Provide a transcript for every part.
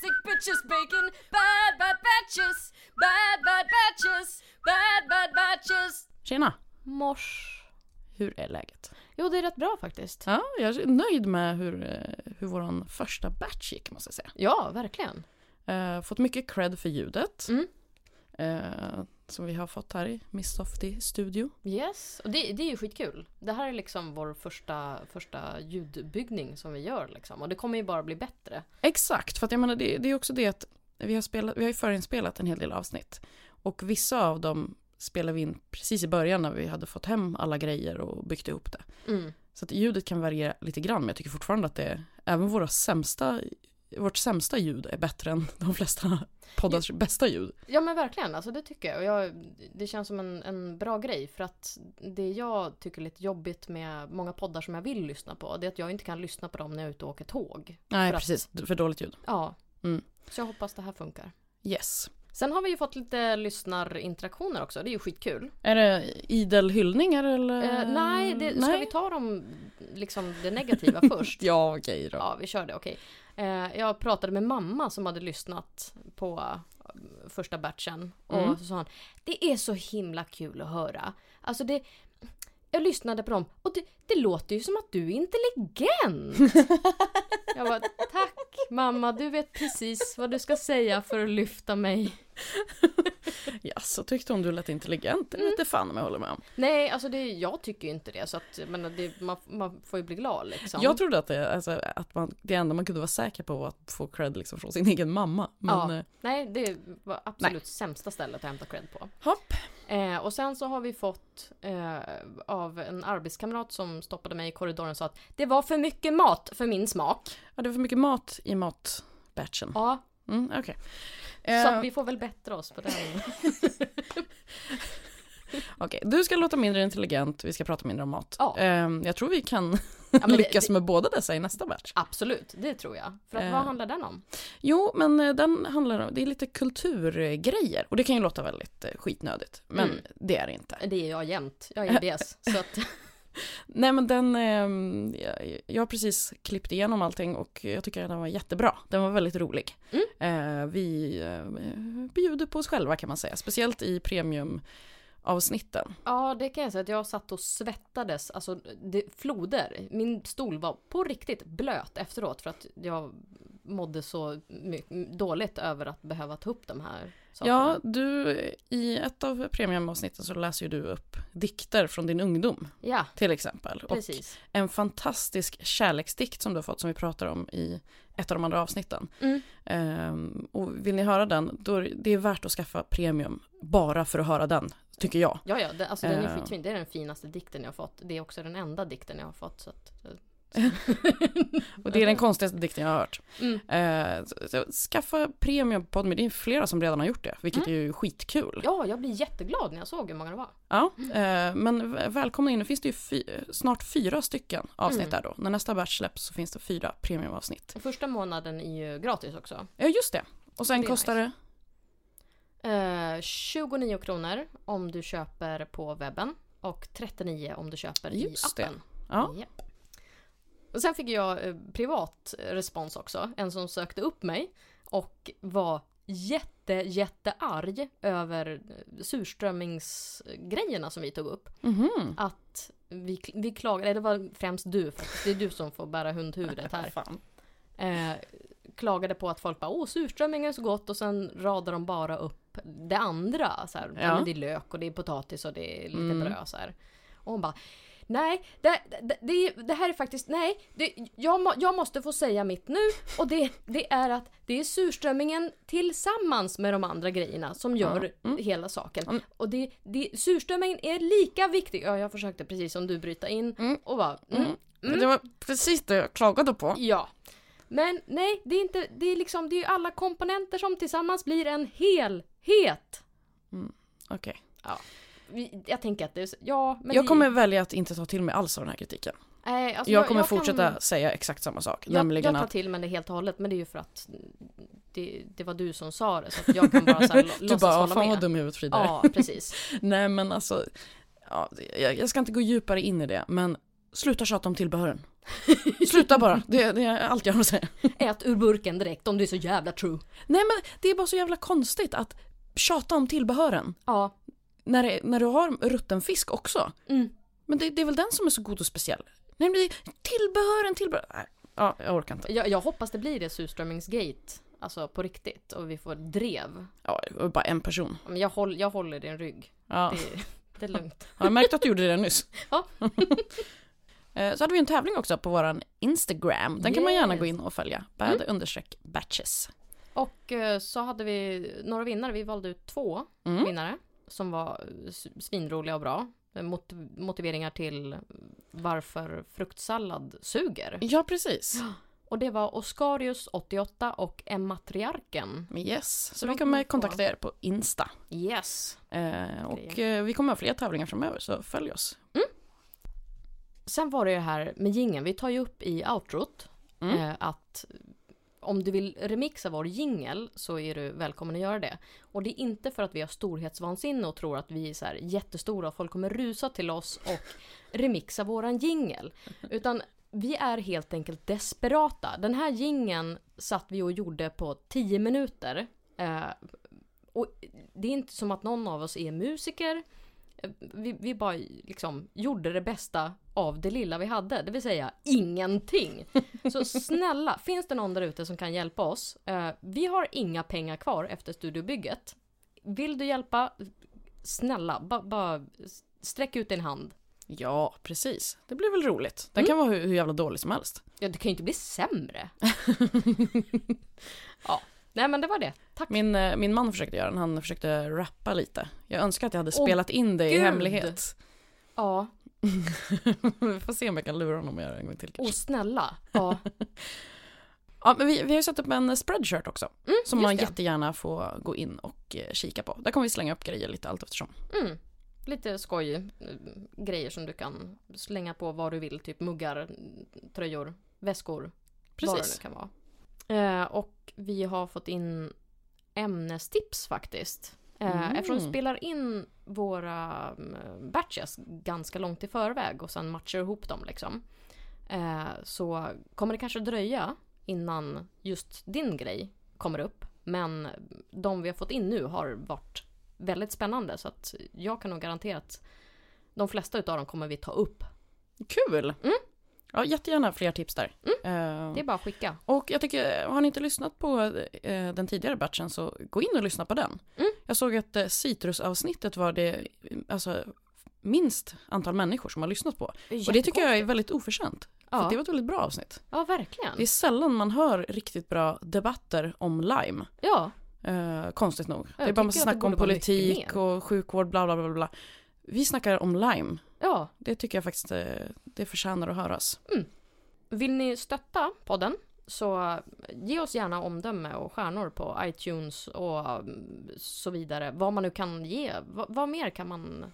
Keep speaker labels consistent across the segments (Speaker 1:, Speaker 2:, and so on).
Speaker 1: sandwiches, bacon, bad bad batches, bad bad batches, bad bad batches.
Speaker 2: Tjena!
Speaker 1: Mors.
Speaker 2: Hur är läget?
Speaker 1: Jo, det är rätt bra faktiskt.
Speaker 2: Ja, jag är nöjd med hur, eh, hur vår första batch gick måste jag säga.
Speaker 1: Ja, verkligen.
Speaker 2: Eh, fått mycket cred för ljudet.
Speaker 1: Mm.
Speaker 2: Eh, som vi har fått här i Miss Softy Studio.
Speaker 1: Yes, och det, det är ju skitkul. Det här är liksom vår första, första ljudbyggning som vi gör liksom. Och det kommer ju bara bli bättre.
Speaker 2: Exakt, för att jag menar det, det är också det att vi har, spelat, vi har ju förinspelat en hel del avsnitt. Och vissa av dem spelade vi in precis i början när vi hade fått hem alla grejer och byggt ihop det.
Speaker 1: Mm.
Speaker 2: Så att ljudet kan variera lite grann men jag tycker fortfarande att det, även våra sämsta, vårt sämsta ljud är bättre än de flesta poddars bästa ljud.
Speaker 1: Ja men verkligen, alltså det tycker jag. Och jag det känns som en, en bra grej för att det jag tycker är lite jobbigt med många poddar som jag vill lyssna på det är att jag inte kan lyssna på dem när jag är ute och åker tåg.
Speaker 2: Nej,
Speaker 1: För att-
Speaker 2: precis. För dåligt ljud.
Speaker 1: Ja.
Speaker 2: Mm.
Speaker 1: Så jag hoppas det här funkar.
Speaker 2: Yes.
Speaker 1: Sen har vi ju fått lite lyssnarinteraktioner också, det är ju skitkul.
Speaker 2: Är det idel hyllningar eller?
Speaker 1: Eh, nej, det, ska
Speaker 2: Ehm, nej?
Speaker 1: vi ta dem, liksom det negativa först?
Speaker 2: Ja, okej då.
Speaker 1: Ja, vi kör det, okej. Eh, jag pratade med mamma som hade lyssnat på eh, första batchen. Och
Speaker 2: Mm.
Speaker 1: så sa han, det är så himla kul att höra. Alltså det... Jag lyssnade på dem och det, det låter ju som att du är intelligent. jag bara, tack mamma, du vet precis vad du ska säga för att lyfta mig.
Speaker 2: Ja, så tyckte hon du lät intelligent. Det
Speaker 1: Mm.
Speaker 2: vete fan om jag håller med om.
Speaker 1: Nej, alltså det, jag tycker ju inte det. Så att, men det, man, man får ju bli glad liksom.
Speaker 2: Jag trodde att, det, alltså, att man, det enda man kunde vara säker på var att få cred liksom från sin egen mamma. Men
Speaker 1: Ja.
Speaker 2: eh,
Speaker 1: Nej, det var absolut sämsta stället att hämta cred på.
Speaker 2: hopp.
Speaker 1: Eh, och sen så har vi fått eh, av en arbetskamrat som stoppade mig i korridoren och sa att det var för mycket mat för min smak.
Speaker 2: Ja, det var för mycket mat i matbatchen.
Speaker 1: Ja,
Speaker 2: Mm, okej.
Speaker 1: så
Speaker 2: Eh,
Speaker 1: att vi får väl bättra oss på den.
Speaker 2: Okej, du ska låta mindre intelligent, vi ska prata mindre om mat.
Speaker 1: Ja.
Speaker 2: Ehm, jag tror vi kan
Speaker 1: men det-
Speaker 2: lyckas
Speaker 1: det-
Speaker 2: med båda dessa i nästa batch.
Speaker 1: Absolut, det tror jag. För att
Speaker 2: Eh.
Speaker 1: vad handlar den om?
Speaker 2: Jo, men eh, den handlar om, det är lite kulturgrejer. Och det kan ju låta väldigt eh, skitnödigt, men
Speaker 1: Mm.
Speaker 2: det är det inte.
Speaker 1: Det är jag jämt. Jag är IBS. så att,
Speaker 2: Nej men den, ehm, jag- jag har precis klippt igenom allting och jag tycker att den var jättebra. Den var väldigt rolig.
Speaker 1: Mm.
Speaker 2: Eh, vi eh, bjuder på oss själva kan man säga, speciellt i premiumavsnitten.
Speaker 1: ja, det kan jag säga att jag satt och svettades. Alltså, det, floder. Min stol var på riktigt blöt efteråt för att jag mådde så my- dåligt över att behöva ta upp de här sakerna.
Speaker 2: Ja, du, i ett av premiumavsnitten så läser ju du upp dikter från din ungdom
Speaker 1: ja
Speaker 2: till exempel. Och
Speaker 1: precis.
Speaker 2: en fantastisk kärleksdikt som du har fått som vi pratar om i ett av de andra avsnitten.
Speaker 1: Mm.
Speaker 2: Ehm, och vill ni höra den, då är det- det är värt att skaffa premium bara för att höra den, tycker jag.
Speaker 1: Ja, ja, det, alltså den är
Speaker 2: Eh.
Speaker 1: skitfin. Det är den finaste dikten jag har fått. Det är också den enda dikten jag har fått. Så att,
Speaker 2: Och det är den konstigaste dikten jag har hört.
Speaker 1: Mm.
Speaker 2: Eh, så, så, skaffa premium på Podme, det är flera som redan har gjort det, vilket
Speaker 1: Mm.
Speaker 2: är ju skitkul.
Speaker 1: ja, jag blir jätteglad när jag såg hur många det var.
Speaker 2: Ja, eh, men v- välkomna in, nu finns det ju fy, snart fyra stycken avsnitt
Speaker 1: Mm.
Speaker 2: där då. När nästa batch släpps så finns det fyra premiumavsnitt.
Speaker 1: Första månaden är ju gratis också.
Speaker 2: Ja, just det. Och sen
Speaker 1: Det är
Speaker 2: kostar det,
Speaker 1: Eh, 29 kronor om du köper på webben och 39 om du köper
Speaker 2: Just
Speaker 1: i
Speaker 2: det.
Speaker 1: appen.
Speaker 2: ja,
Speaker 1: Japp. Och sen fick jag eh, privat respons också. En som sökte upp mig och var jätte, jättearg över eh, surströmmingsgrejerna som vi tog upp.
Speaker 2: mhm.
Speaker 1: att vi, vi klagade, eller det var främst du faktiskt, det är du som får bära hundhuvudet här.
Speaker 2: Fan.
Speaker 1: Eh, klagade på att folk bara åh surströmming är så gott och sen radar de bara upp det andra. Så här, ja.
Speaker 2: Ja.
Speaker 1: men det är lök och det är potatis och det är lite
Speaker 2: Mm.
Speaker 1: bröd så här. Och hon bara Nej, det, det, det, det här är faktiskt, nej, det, jag, må, jag måste få säga mitt nu och det, det är att det är surströmmingen tillsammans med de andra grejerna som gör hela saken.
Speaker 2: Mm.
Speaker 1: Och det, det, surströmmingen är lika viktig, ja jag försökte precis som du bryta in
Speaker 2: Mm.
Speaker 1: och bara mm,
Speaker 2: Det var precis det jag klagade på.
Speaker 1: Ja. Men nej, det är inte, det är liksom, det är ju alla komponenter som tillsammans blir en helhet.
Speaker 2: Okej.
Speaker 1: Vi- Jag tänker att det är, så- ja men
Speaker 2: Jag
Speaker 1: det-
Speaker 2: kommer välja att inte ta till mig alls av den här kritiken.
Speaker 1: nej, alltså
Speaker 2: jag kommer
Speaker 1: kan-
Speaker 2: fortsätta säga exakt samma sak.
Speaker 1: jag, jag
Speaker 2: nämligen
Speaker 1: tar
Speaker 2: att
Speaker 1: till mig det helt och hållet men det är ju för att det, det var du som sa det så att jag kan bara så här, lå-
Speaker 2: du
Speaker 1: låtsas
Speaker 2: bara, "Ah,
Speaker 1: hålla
Speaker 2: fan
Speaker 1: med.
Speaker 2: vad dum i huvudet Frida är."
Speaker 1: Ja, precis.
Speaker 2: Nej men alltså, ja, jag, jag ska inte gå djupare in i det, men Sluta tjata om tillbehören. Sluta bara, det, det är allt jag har att säga.
Speaker 1: Ät ur burken direkt om du är så jävla true.
Speaker 2: Nej men det är bara så jävla konstigt att tjata om tillbehören.
Speaker 1: Ja.
Speaker 2: När, det, när du har rutten fisk också.
Speaker 1: Mm.
Speaker 2: Men det, det är väl den som är så god och speciell? Nej men det är tillbehören, tillbehören. Nej, ja, jag orkar inte.
Speaker 1: Jag, jag hoppas det blir det surströmmingsgate. Alltså på riktigt. Och vi får drev.
Speaker 2: Ja, det var bara en person.
Speaker 1: Men jag, håll, jag håller din rygg.
Speaker 2: Ja.
Speaker 1: Det, det är lugnt.
Speaker 2: Har jag märkt att du gjorde det nyss?
Speaker 1: Ja.
Speaker 2: Eh, Så hade vi en tävling också på våran Instagram. Den kan man gärna
Speaker 1: Yes.
Speaker 2: gå in och följa. Bad understreck batches.
Speaker 1: Och eh, så hade vi några vinnare. Vi valde ut två
Speaker 2: Mm.
Speaker 1: vinnare. Som var eh, s- svinroliga och bra. Eh, Mot, motiveringar till varför fruktsallad suger.
Speaker 2: Ja, precis.
Speaker 1: Och det var Oscarius 88 och Emmatriarken.
Speaker 2: Yes. Så
Speaker 1: Så
Speaker 2: vi
Speaker 1: de kommer
Speaker 2: kommer
Speaker 1: få-
Speaker 2: kontakta er på Insta.
Speaker 1: Yes.
Speaker 2: Eh, och eh, vi kommer ha fler tävlingar framöver, så följ oss.
Speaker 1: Sen var det ju det här med gingen. Vi tar ju upp i outrot
Speaker 2: Mm.
Speaker 1: eh, att om du vill remixa vår jingel så är du välkommen att göra det. Och det är inte för att vi har storhetsvansinne och tror att vi är så här jättestora och folk kommer rusa till oss och remixa våran jingel. Utan vi är helt enkelt desperata. Den här jingeln satt vi och gjorde på 10 minuter. Eh, och det är inte som att någon av oss är musiker. Eh, Vi, vi bara liksom gjorde det bästa av det lilla vi hade, det vill säga ingenting. Så snälla, finns det någon där ute som kan hjälpa oss? Eh, vi har inga pengar kvar efter studiobygget. Vill du hjälpa? Snälla, ba- bara sträck ut din hand.
Speaker 2: Ja, precis. Det blir väl roligt. Den
Speaker 1: Mm.
Speaker 2: kan vara hur, hur jävla dålig som helst.
Speaker 1: Ja, det kan ju inte bli sämre. ja, nej men det var det. Tack.
Speaker 2: Min, eh, min man försökte göra den, han försökte rappa lite. Jag önskar att jag hade
Speaker 1: Åh,
Speaker 2: spelat in det i
Speaker 1: gud!
Speaker 2: hemlighet.
Speaker 1: Ja,
Speaker 2: vi får se om jag kan lura honom att göra det en gång till.
Speaker 1: och snälla. Ja,
Speaker 2: Ja, men vi, vi har ju satt upp en eh, spreadshirt också. som
Speaker 1: Mm, just
Speaker 2: man
Speaker 1: det.
Speaker 2: jättegärna får gå in och eh, kika på. Där kommer vi slänga upp grejer lite allt eftersom.
Speaker 1: mm. Lite skoj eh, grejer som du kan slänga på vad du vill. Typ muggar, tröjor, väskor. Vad det nu
Speaker 2: Precis.
Speaker 1: kan vara. Eh, och vi har fått in ämnestips faktiskt. Eh,
Speaker 2: Mm.
Speaker 1: Eftersom vi spelar in våra mm, batches ganska långt i förväg och sen matchar ihop dem liksom. Eh, så kommer det kanske dröja innan just din grej kommer upp. Men de vi har fått in nu har varit väldigt spännande så att jag kan nog garantera att de flesta utav dem kommer vi ta upp.
Speaker 2: Kul!
Speaker 1: Mm.
Speaker 2: Ja, jättegärna fler tips där. Eh,
Speaker 1: Det är bara att skicka.
Speaker 2: och jag tycker, har ni inte lyssnat på eh, den tidigare batchen så gå in och lyssna på den.
Speaker 1: Mm.
Speaker 2: Jag såg att eh, citrusavsnittet var det eh, alltså, minst antal människor som har lyssnat på. Och det tycker jag är väldigt oförtjänt. För
Speaker 1: Ja, Mm.
Speaker 2: det var ett väldigt bra avsnitt.
Speaker 1: ja verkligen.
Speaker 2: Det är sällan man hör riktigt bra debatter om lime.
Speaker 1: Ja.
Speaker 2: Eh, konstigt nog. det är
Speaker 1: jag
Speaker 2: bara
Speaker 1: tycker
Speaker 2: massa
Speaker 1: att det
Speaker 2: snack om
Speaker 1: borde vara mycket
Speaker 2: politik
Speaker 1: mer.
Speaker 2: och sjukvård, bla bla bla. bla. Vi snackar om Lime.
Speaker 1: Ja,
Speaker 2: Det tycker jag faktiskt eh, det förtjänar att höras.
Speaker 1: vill ni stötta podden så ge oss gärna omdöme och stjärnor på iTunes och mm, så vidare. Vad man nu kan ge. Vad, vad mer kan man...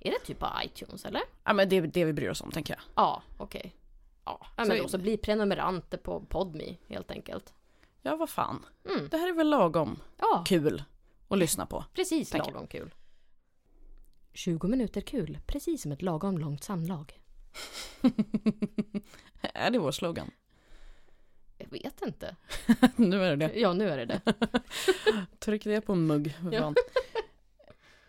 Speaker 1: Är det typ på iTunes eller?
Speaker 2: Ja, men det är det vi bryr oss om, tänker jag.
Speaker 1: Ja, okej. Ja, ja, men
Speaker 2: så-
Speaker 1: då så bli prenumeranter på Podme helt enkelt.
Speaker 2: Ja, vad fan.
Speaker 1: Mm.
Speaker 2: Det här är väl lagom
Speaker 1: Ja,
Speaker 2: kul att lyssna på.
Speaker 1: precis
Speaker 2: Tack.
Speaker 1: lagom kul. 20 minuter kul, precis som ett lagom långt samlag.
Speaker 2: är det vår slogan?
Speaker 1: Jag vet inte.
Speaker 2: nu är det det.
Speaker 1: Ja, nu är det det.
Speaker 2: Tryck det på en mugg. för
Speaker 1: Ja.
Speaker 2: fan.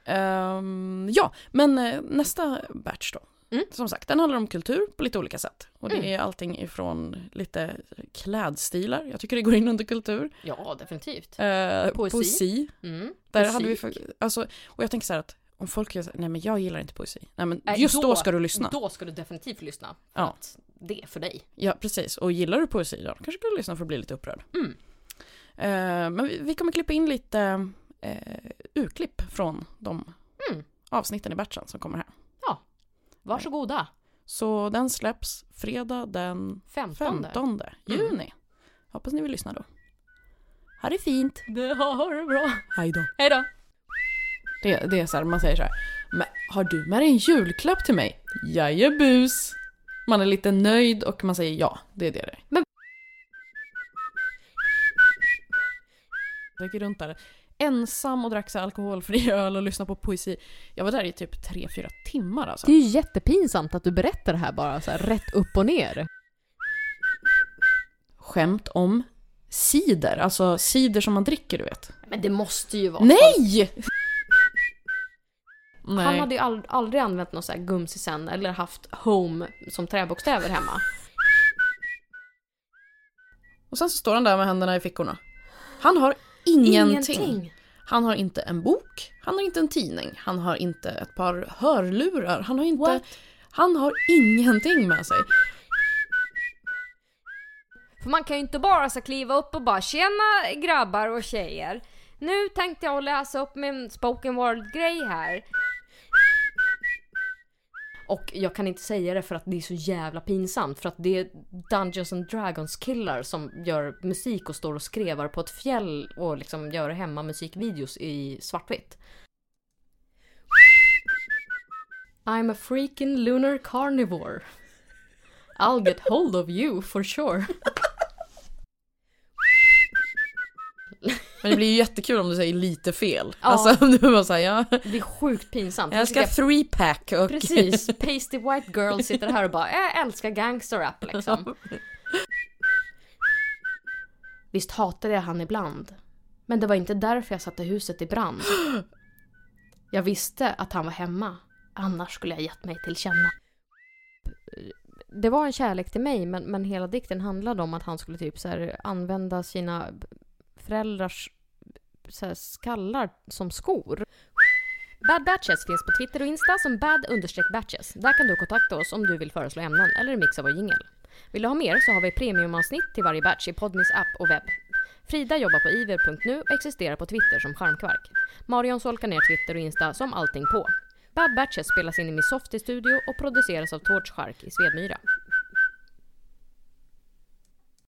Speaker 2: Ehm, ja, men eh, nästa batch då.
Speaker 1: Mm.
Speaker 2: Som sagt, den handlar om kultur på lite olika sätt. Och det
Speaker 1: Mm.
Speaker 2: är allting ifrån lite klädstilar, jag tycker det går in under kultur,
Speaker 1: Ja, definitivt.
Speaker 2: Eh,
Speaker 1: Poesi.
Speaker 2: poesi.
Speaker 1: Mm.
Speaker 2: Där
Speaker 1: Musik.
Speaker 2: hade vi för, alltså, och jag tänker så här att om folk gör så här, nej men jag gillar inte poesi. Nej men
Speaker 1: Nej,
Speaker 2: just Äh, då,
Speaker 1: då-
Speaker 2: ska du lyssna.
Speaker 1: Då ska du definitivt lyssna. För
Speaker 2: Ja.
Speaker 1: att det är för dig.
Speaker 2: Ja precis, och gillar du poesi, ja då kanske du lyssna för att bli lite upprörd.
Speaker 1: Mm.
Speaker 2: Eh, men vi, vi kommer klippa in lite eh, urklipp från de
Speaker 1: Mm.
Speaker 2: avsnitten i batchen som kommer här.
Speaker 1: Varsågoda.
Speaker 2: Så den släpps fredag den
Speaker 1: 15.
Speaker 2: 15 juni.
Speaker 1: Mm.
Speaker 2: Hoppas ni vill lyssna då. Ha det fint!
Speaker 1: Det har du bra.
Speaker 2: Hej då!
Speaker 1: Hej då.
Speaker 2: Det, det är så här, man säger så här. Men har du med dig en julklapp till mig? Jajebus! Man är lite nöjd och man säger ja, det är det det är.
Speaker 1: Men-
Speaker 2: Jag gick runt där ensam och drack så här alkoholfri öl och lyssnade på poesi. Jag var där i typ tre fyra timmar alltså.
Speaker 3: Det är ju jättepinsamt att du berättar det här bara så här, rätt upp och ner.
Speaker 2: Skämt om cider, alltså cider som man dricker du vet.
Speaker 1: Men det måste ju vara
Speaker 2: Nej! Nej.
Speaker 1: Han hade ju ald- aldrig använt någon sån här gumsisen eller haft home som träbokstäver hemma.
Speaker 2: Och sen så står han där med händerna i fickorna. Han har ingenting. Han har inte en bok, han har inte en tidning, han har inte ett par hörlurar, han har inte...
Speaker 1: What?
Speaker 2: Han har ingenting med sig.
Speaker 1: För man kan ju inte bara så kliva upp och bara “tjena grabbar och tjejer”. Nu tänkte jag läsa upp min spoken word-grej här. Och jag kan inte säga det för att det är så jävla pinsamt för att det är Dungeons and Dragons killar som gör musik och står och skrevar på ett fjäll och liksom gör hemma musikvideos i svartvitt. I'm a freaking lunar carnivore. I'll get hold of you for sure.
Speaker 2: Men det blir ju jättekul om du säger lite fel.
Speaker 1: Ja.
Speaker 2: Alltså om du bara säger ja,
Speaker 1: Det är sjukt pinsamt.
Speaker 2: jag ska three pack och...
Speaker 1: Precis, pasty white girl sitter här och bara jag älskar gangsterrap liksom. Visst hatade jag han ibland. Men det var inte därför jag satte huset i brand. Jag visste att han var hemma. Annars skulle jag gett mig till känna. Det var en kärlek till mig men, men hela dikten handlade om att han skulle typ så här, använda sina föräldrars så här, skallar som skor. Bad Batches finns på Twitter och Insta som bad-batches. Där kan du kontakta oss om du vill föreslå ämnen eller mixa vår jingel. Vill du ha mer så har vi premiumavsnitt till varje batch i Podmis app och webb. Frida jobbar på iver.nu och existerar på Twitter som Charmkvark. Marion solkar ner Twitter och Insta som allting på. Bad Batches spelas in i min Softie-studio och produceras av Torch Shark i Svedmyra.